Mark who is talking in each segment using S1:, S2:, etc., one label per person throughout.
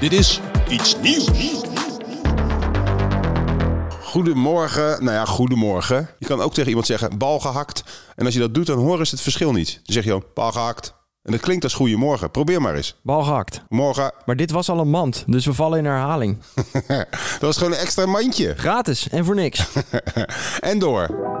S1: Dit is iets nieuws.
S2: Goedemorgen. Nou ja, goedemorgen. Je kan ook tegen iemand zeggen, bal gehakt. En als je dat doet, dan horen ze het verschil niet. Dan zeg je ook, bal gehakt. En dat klinkt als goedemorgen. Probeer maar eens.
S3: Bal gehakt.
S2: Morgen.
S3: Maar dit was al een mand, dus we vallen in herhaling.
S2: dat was gewoon een extra mandje.
S3: Gratis en voor niks.
S2: En door.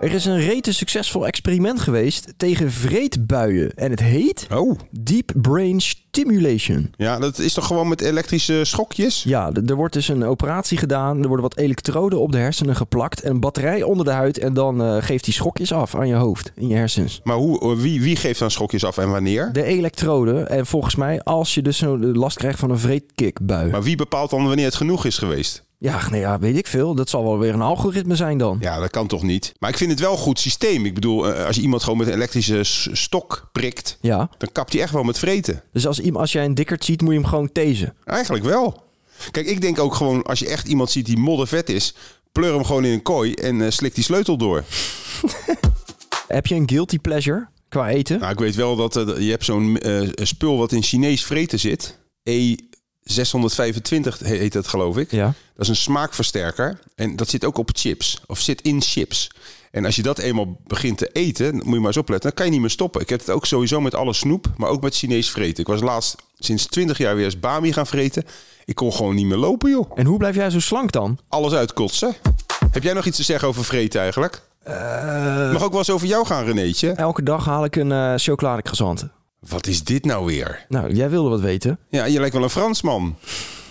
S3: Er is een rete succesvol experiment geweest tegen vreedbuien. En het heet
S2: Oh.
S3: Deep Brain Stimulation.
S2: Ja, dat is toch gewoon met elektrische schokjes?
S3: Ja, d- er wordt dus een operatie gedaan. Er worden wat elektroden op de hersenen geplakt. En een batterij onder de huid. En dan eh, geeft die schokjes af aan je hoofd, in je hersens.
S2: Maar hoe, wie, wie geeft dan schokjes af en wanneer?
S3: De elektroden. En volgens mij, als je dus zo last krijgt van een vreedkickbui.
S2: Maar wie bepaalt dan wanneer het genoeg is geweest?
S3: Ja, nee, ja, weet ik veel. Dat zal wel weer een algoritme zijn dan.
S2: Ja, dat kan toch niet? Maar ik vind het wel een goed systeem. Ik bedoel, eh, als je iemand gewoon met een elektrische s- stok prikt,
S3: Ja.
S2: dan kapt hij echt wel met vreten.
S3: Dus als, iem- als jij een dikkerd ziet, moet je hem gewoon tezen.
S2: Eigenlijk wel. Kijk, ik denk ook gewoon, als je echt iemand ziet die moddervet is, pleur hem gewoon in een kooi en eh, slik die sleutel door.
S3: Heb je een guilty pleasure qua eten?
S2: Nou, ik weet wel dat eh, je hebt zo'n eh, spul wat in Chinees vreten zit. E625 heet dat, geloof ik.
S3: Ja.
S2: Dat is een smaakversterker. En dat zit ook op chips. Of zit in chips. En als je dat eenmaal begint te eten, moet je maar eens opletten, dan kan je niet meer stoppen. Ik heb het ook sowieso met alle snoep, maar ook met Chinees vreten. Ik was laatst sinds 20 jaar weer eens Bami gaan vreten. Ik kon gewoon niet meer lopen, joh.
S3: En hoe blijf jij zo slank dan?
S2: Alles uitkotsen. Heb jij nog iets te zeggen over vreten eigenlijk? Mag ook wel eens over jou gaan, Renéetje.
S3: Eh, Elke dag haal ik een eh chocoladecroissant.
S2: Wat is dit nou weer?
S3: Nou, jij wilde wat weten.
S2: Ja, je lijkt wel een Fransman.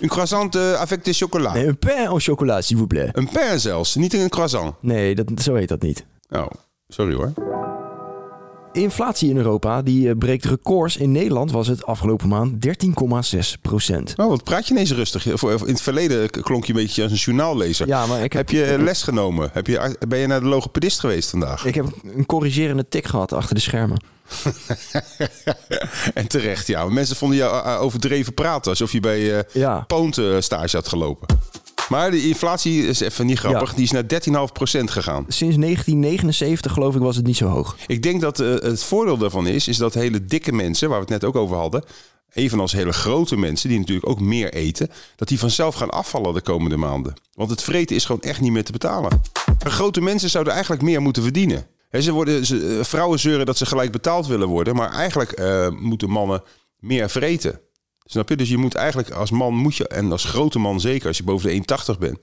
S2: Een croissant eh, avec de chocola.
S3: Nee, een pain au chocolat, s'il vous plaît.
S2: Een pain zelfs, niet een croissant.
S3: Nee, dat, zo heet dat niet.
S2: Oh, sorry hoor.
S3: Inflatie in Europa die eh, breekt records. In Nederland was het afgelopen maand 13,6 procent.
S2: Oh, wat praat je ineens rustig? Of- of In het verleden k- klonk je een beetje als een journaallezer.
S3: Ja, maar ik
S2: Heb
S3: heb,
S2: je eh, les genomen? Heb je, ah, ben je naar de logopedist geweest vandaag?
S3: ik heb een corrigerende tik gehad achter de schermen.
S2: en terecht, ja. Want Mensen vonden jou eh, overdreven praten. Alsof je bij eh
S3: Ja.
S2: Poonte stage had gelopen. Maar de inflatie is even niet grappig.
S3: Ja.
S2: Die is naar 13,5% gegaan.
S3: Sinds 1979 geloof ik was het niet zo hoog.
S2: Ik denk dat eh, het voordeel daarvan is, is dat hele dikke mensen, waar we het net ook over hadden, evenals hele grote mensen, die natuurlijk ook meer eten, dat die vanzelf gaan afvallen de komende maanden. Want het vreten is gewoon echt niet meer te betalen. Maar grote mensen zouden eigenlijk meer moeten verdienen. Hè, ze worden, ze, eh, vrouwen zeuren dat ze gelijk betaald willen worden, maar eigenlijk eh, moeten mannen meer vreten. Snap je? Dus je moet eigenlijk als man moet je, en als grote man zeker, als je boven de 1,80 bent.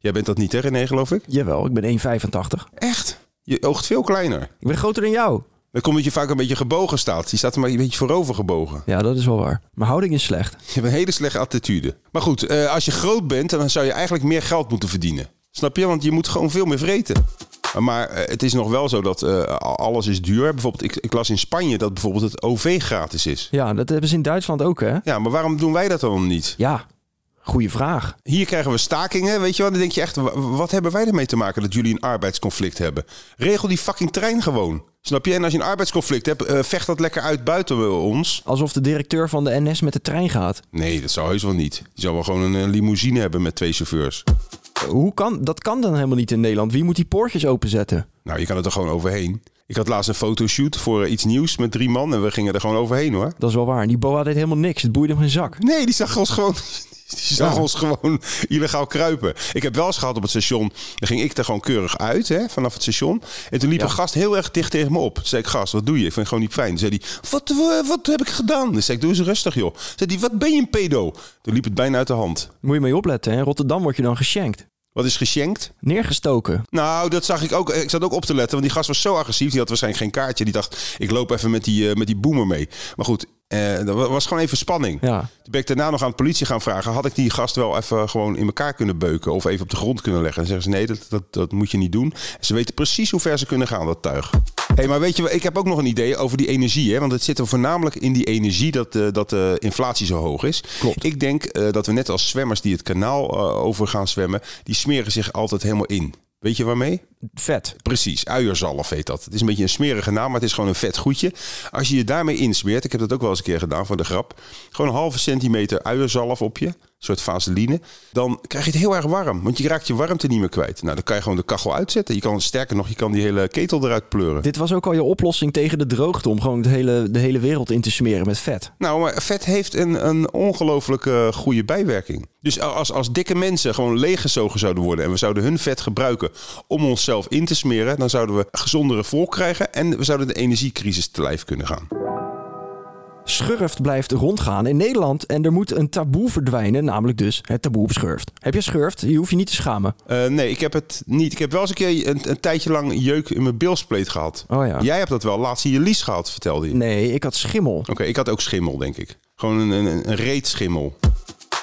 S2: Jij bent dat niet hè René, geloof ik?
S3: Jawel, ik ben 1,85.
S2: Echt? Je oogt veel kleiner.
S3: Ik ben groter dan jou.
S2: Dat komt omdat je vaak een beetje gebogen staat. Je staat er maar een beetje voorover gebogen.
S3: Ja, dat is wel waar. Mijn houding is slecht.
S2: Je hebt een hele slechte attitude. Maar goed, eh, als je groot bent, dan zou je eigenlijk meer geld moeten verdienen. Snap je? Want je moet gewoon veel meer vreten. Maar eh, het is nog wel zo dat eh, alles is duur. Bijvoorbeeld, ik, ik las in Spanje dat bijvoorbeeld het OV gratis is.
S3: Ja, dat hebben ze in Duitsland ook, hè?
S2: Ja, maar waarom doen wij dat dan niet?
S3: Ja, goede vraag.
S2: Hier krijgen we stakingen, weet je wel. Dan denk je echt, wa- wat hebben wij ermee te maken dat jullie een arbeidsconflict hebben? Regel die fucking trein gewoon. Snap je? En als je een arbeidsconflict hebt, eh, vecht dat lekker uit buiten ons.
S3: Alsof de directeur van de NS met de trein gaat.
S2: Nee, dat zou heus wel niet. Die zou wel gewoon een eh, limousine hebben met twee chauffeurs.
S3: Hoe kan, dat kan dan helemaal niet in Nederland. Wie moet die poortjes openzetten?
S2: Nou, je kan het er gewoon overheen. Ik had laatst een fotoshoot voor eh, iets nieuws met drie man en we gingen er gewoon overheen hoor.
S3: Dat is wel waar. En die boa deed helemaal niks. Het boeide hem geen zak.
S2: Nee, die zag ons gewoon. Die zag ons gewoon illegaal kruipen. Ik heb wel eens gehad op het station. Dan ging ik er gewoon keurig uit, hè, vanaf het station. En toen liep een gast heel erg dicht tegen me op. Toen zei ik, gast, wat doe je? Ik vind het gewoon niet fijn. Toen zei hij, wat, eh, wat heb ik gedaan? Dan zei ik, doe eens rustig, joh. Toen zei hij, wat ben je een pedo? Toen liep het bijna uit de hand.
S3: Moet je mee opletten. hè? In Rotterdam word je dan geschenkt.
S2: Wat is geschenkt?
S3: Neergestoken.
S2: Nou, dat zag ik ook. Ik zat ook op te letten, want die gast was zo agressief. Die had waarschijnlijk geen kaartje. Die dacht, ik loop even met die, eh, met die boemer mee. Maar goed, eh, dat wa- was gewoon even spanning.
S3: Ja.
S2: Toen ben ik daarna nog aan de politie gaan vragen. Had ik die gast wel even gewoon in elkaar kunnen beuken? Of even op de grond kunnen leggen? En dan zeggen ze, nee, dat, dat, dat moet je niet doen. En ze weten precies hoe ver ze kunnen gaan, dat tuig. Hé, hey, maar weet je, wel, ik heb ook nog een idee over die energie. Hè? Want het zit er voornamelijk in die energie dat, eh, dat de inflatie zo hoog is.
S3: Klopt.
S2: Ik denk eh, dat we net als zwemmers die het kanaal eh, over gaan zwemmen... die smeren zich altijd helemaal in. Weet je waarmee?
S3: vet.
S2: Precies, uierzalf heet dat. Het is een beetje een smerige naam, maar het is gewoon een vet goedje. Als je je daarmee insmeert, ik heb dat ook wel eens een keer gedaan voor de grap. Gewoon een halve centimeter uierzalf op je, een soort vaseline. Dan krijg je het heel erg warm, want je raakt je warmte niet meer kwijt. Nou, dan kan je gewoon de kachel uitzetten. Je kan, sterker nog, je kan die hele ketel eruit pleuren.
S3: Dit was ook al je oplossing tegen de droogte om gewoon de hele, de hele wereld in te smeren met vet.
S2: Nou, maar vet heeft een, een ongelooflijk eh, goede bijwerking. Dus als, als dikke mensen gewoon leeggezogen zouden worden en we zouden hun vet gebruiken om onszelf in te smeren, dan zouden we gezondere volk krijgen en we zouden de energiecrisis te lijf kunnen gaan.
S3: Schurft blijft rondgaan in Nederland en er moet een taboe verdwijnen, namelijk dus het taboe op schurft. Heb je schurft? Je hoeft je niet te schamen.
S2: Eh, nee, ik heb het niet. Ik heb wel eens een keer een, een tijdje lang jeuk in mijn bilspleet gehad.
S3: Oh ja.
S2: Jij hebt dat wel laatst in je lies gehad, vertelde je.
S3: Nee, ik had schimmel.
S2: Oké, ik had ook schimmel, denk ik. Gewoon een, een, een reetschimmel.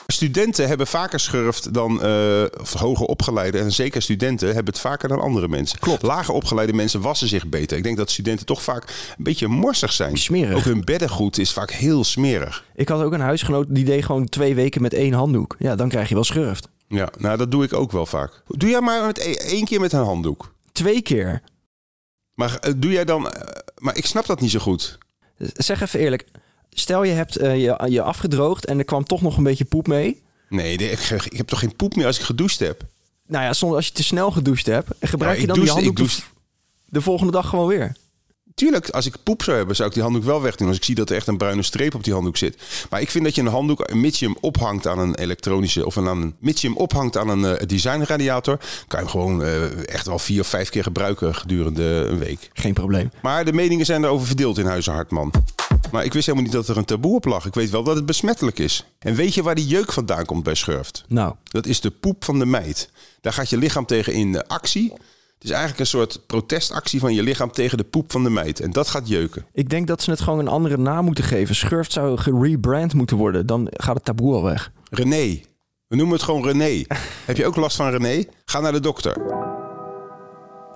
S2: Studenten hebben vaker schurft dan eh, of hoger opgeleide. En zeker studenten hebben het vaker dan andere mensen. Klopt. Lager opgeleide mensen wassen zich beter. Ik denk dat studenten toch vaak een beetje morsig zijn.
S3: Smerig.
S2: Ook hun beddengoed is vaak heel smerig.
S3: Ik had ook een huisgenoot die deed gewoon twee weken met één handdoek. Ja, dan krijg je wel schurft.
S2: Ja, nou dat doe ik ook wel vaak. Doe jij maar met e- één keer met een handdoek.
S3: Twee keer.
S2: Maar eh, doe jij dan... eh, maar ik snap dat niet zo goed.
S3: Zeg even eerlijk. Stel je hebt eh, je, je afgedroogd en er kwam toch nog een beetje poep mee.
S2: Nee, nee, ik, ik heb toch geen poep meer als ik gedoucht heb?
S3: Nou ja, soms als je te snel gedoucht hebt, eh, gebruik
S2: Ja,
S3: je
S2: ik
S3: dan die
S2: douche-
S3: handdoek
S2: ik
S3: de- de volgende dag gewoon weer.
S2: Tuurlijk, als ik poep zou hebben, zou ik die handdoek wel wegdoen. Als ik zie dat er echt een bruine streep op die handdoek zit. Maar ik vind dat je een handdoek, mits je hem ophangt aan een elektronische... of aan een, mits je hem ophangt aan een eh, designradiator... kan je hem gewoon eh, echt wel vier of vijf keer gebruiken gedurende een week.
S3: Geen probleem.
S2: Maar de meningen zijn daarover verdeeld in Huizen Hartman. Maar ik wist helemaal niet dat er een taboe op lag. Ik weet wel dat het besmettelijk is. En weet je waar die jeuk vandaan komt bij schurft?
S3: Nou,
S2: Dat is de poep van de meid. Daar gaat je lichaam tegen in eh, actie. Het is eigenlijk een soort protestactie van je lichaam tegen de poep van de meid. En dat gaat jeuken.
S3: ik denk dat ze het gewoon een andere naam moeten geven. Schurft zou gerebrand moeten worden. Dan gaat het taboe al weg.
S2: René. We noemen het gewoon René. Heb je ook last van René? Ga naar de dokter.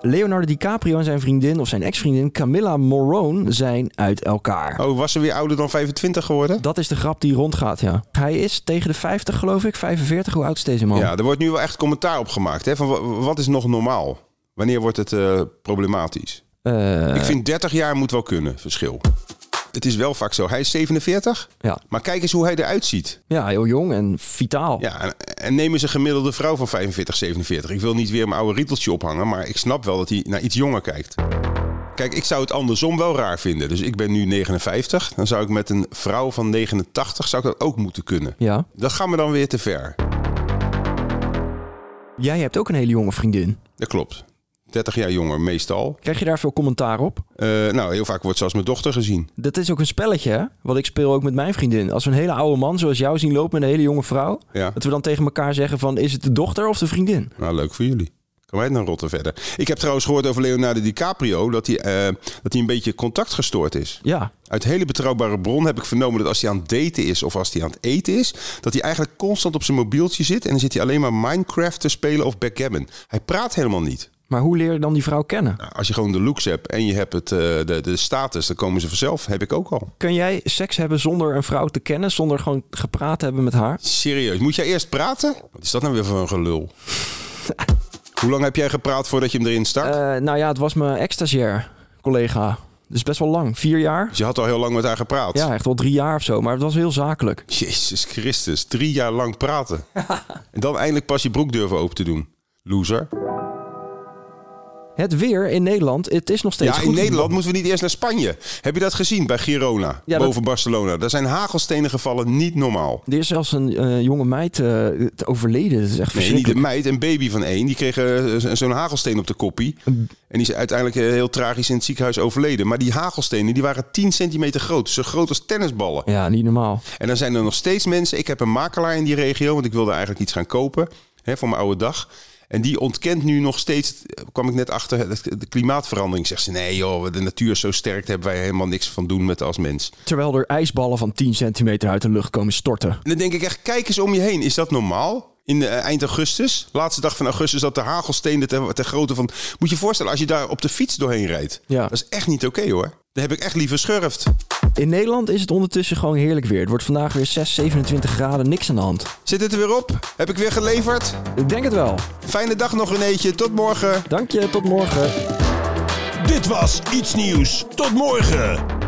S3: Leonardo DiCaprio en zijn vriendin of zijn ex-vriendin Camilla Morone zijn uit elkaar.
S2: Oh, was ze weer ouder dan 25 geworden?
S3: Dat is de grap die rondgaat, ja. Hij is tegen de 50, geloof ik. 45, hoe oud is deze man?
S2: Ja, er wordt nu wel echt commentaar op gemaakt. Hè? Van, wa- wat is nog normaal? Wanneer wordt het eh, problematisch?
S3: Eh,
S2: Ik vind 30 jaar moet wel kunnen, verschil. Het is wel vaak zo. Hij is 47,
S3: ja.
S2: maar kijk eens hoe hij eruit ziet.
S3: ja, heel jong en vitaal.
S2: Ja, en, en neem eens een gemiddelde vrouw van 45, 47. Ik wil niet weer mijn oude rieteltje ophangen, maar ik snap wel dat hij naar iets jonger kijkt. Kijk, ik zou het andersom wel raar vinden. Dus ik ben nu 59. Dan zou ik met een vrouw van 89 zou ik dat ook moeten kunnen.
S3: Ja.
S2: Dat gaan we dan weer te ver.
S3: Jij hebt ook een hele jonge vriendin.
S2: Dat klopt. 30 jaar jonger meestal.
S3: Krijg je daar veel commentaar op?
S2: Eh, nou, heel vaak wordt zelfs mijn dochter gezien.
S3: Dat is ook een spelletje, hè? Wat ik speel ook met mijn vriendin. Als we een hele oude man zoals jou zien lopen met een hele jonge vrouw...
S2: Ja.
S3: dat we dan tegen elkaar zeggen van... is het de dochter of de vriendin?
S2: Nou, leuk voor jullie. Kan wij het nou rotten verder? Ik heb trouwens gehoord over Leonardo DiCaprio dat hij, eh, dat hij een beetje contactgestoord is.
S3: Ja,
S2: Uit hele betrouwbare bron heb ik vernomen dat als hij aan het daten is of als hij aan het eten is, dat hij eigenlijk constant op zijn mobieltje zit en dan zit hij alleen maar Minecraft te spelen of backgammon. Hij praat helemaal niet.
S3: maar hoe leer je dan die vrouw kennen?
S2: Nou, als je gewoon de looks hebt en je hebt het, eh, de, de status, dan komen ze vanzelf. Heb ik ook al.
S3: Kun jij seks hebben zonder een vrouw te kennen? Zonder gewoon gepraat te hebben met haar?
S2: Serieus, moet jij eerst praten? Wat is dat nou weer voor een gelul? Hoe lang heb jij gepraat voordat je hem erin start?
S3: Eh, nou ja, het was mijn ex-stagiair collega. Dus best wel lang. Vier jaar?
S2: Dus je had al heel lang met haar gepraat.
S3: Ja, echt wel drie jaar of zo. Maar het was heel zakelijk.
S2: Jezus Christus, drie jaar lang praten. En dan eindelijk pas je broek durven open te doen. Loser.
S3: Het weer in Nederland, het is nog steeds
S2: ja,
S3: goed.
S2: in Nederland moeten we niet eerst naar Spanje. Heb je dat gezien bij Girona,
S3: Ja, dat-
S2: boven Barcelona? Daar zijn hagelstenen gevallen, niet normaal.
S3: Er is zelfs een eh, jonge meid eh, t- overleden. Dat is echt
S2: Nee, niet
S3: verschrikkelijk.
S2: een meid, een baby van één. Die kreeg eh, z- zo'n hagelsteen op de koppie. En die is uiteindelijk eh, heel tragisch in het ziekenhuis overleden. Maar die hagelstenen die waren 10 centimeter groot. Zo groot als tennisballen.
S3: Ja, niet normaal.
S2: En dan zijn er nog steeds mensen. Ik heb een makelaar in die regio, want ik wilde eigenlijk iets gaan kopen hè, voor mijn oude dag. En die ontkent nu nog steeds, eh, kwam ik net achter, het- de klimaatverandering. Zegt ze, nee joh, de natuur is zo sterk, daar hebben wij helemaal niks van doen met als mens.
S3: Terwijl er ijsballen van 10 centimeter uit de lucht komen storten.
S2: En dan denk ik echt, kijk eens om je heen. Is dat normaal? In eh, eind augustus, laatste dag van augustus, dat de hagelsteen ter, ter grootte van... Moet je je voorstellen, als je daar op de fiets doorheen rijdt.
S3: Ja.
S2: Dat is echt niet oké hoor. Daar heb ik echt liever schurft.
S3: In Nederland is het ondertussen gewoon heerlijk weer. Het wordt vandaag weer 6, 27 graden, niks aan de hand.
S2: Zit het er weer op? Heb ik weer geleverd?
S3: Ik denk het wel.
S4: Fijne dag nog Renéetje. Tot morgen.
S3: Dank je, tot morgen.
S2: Dit was Iets Nieuws. Tot morgen.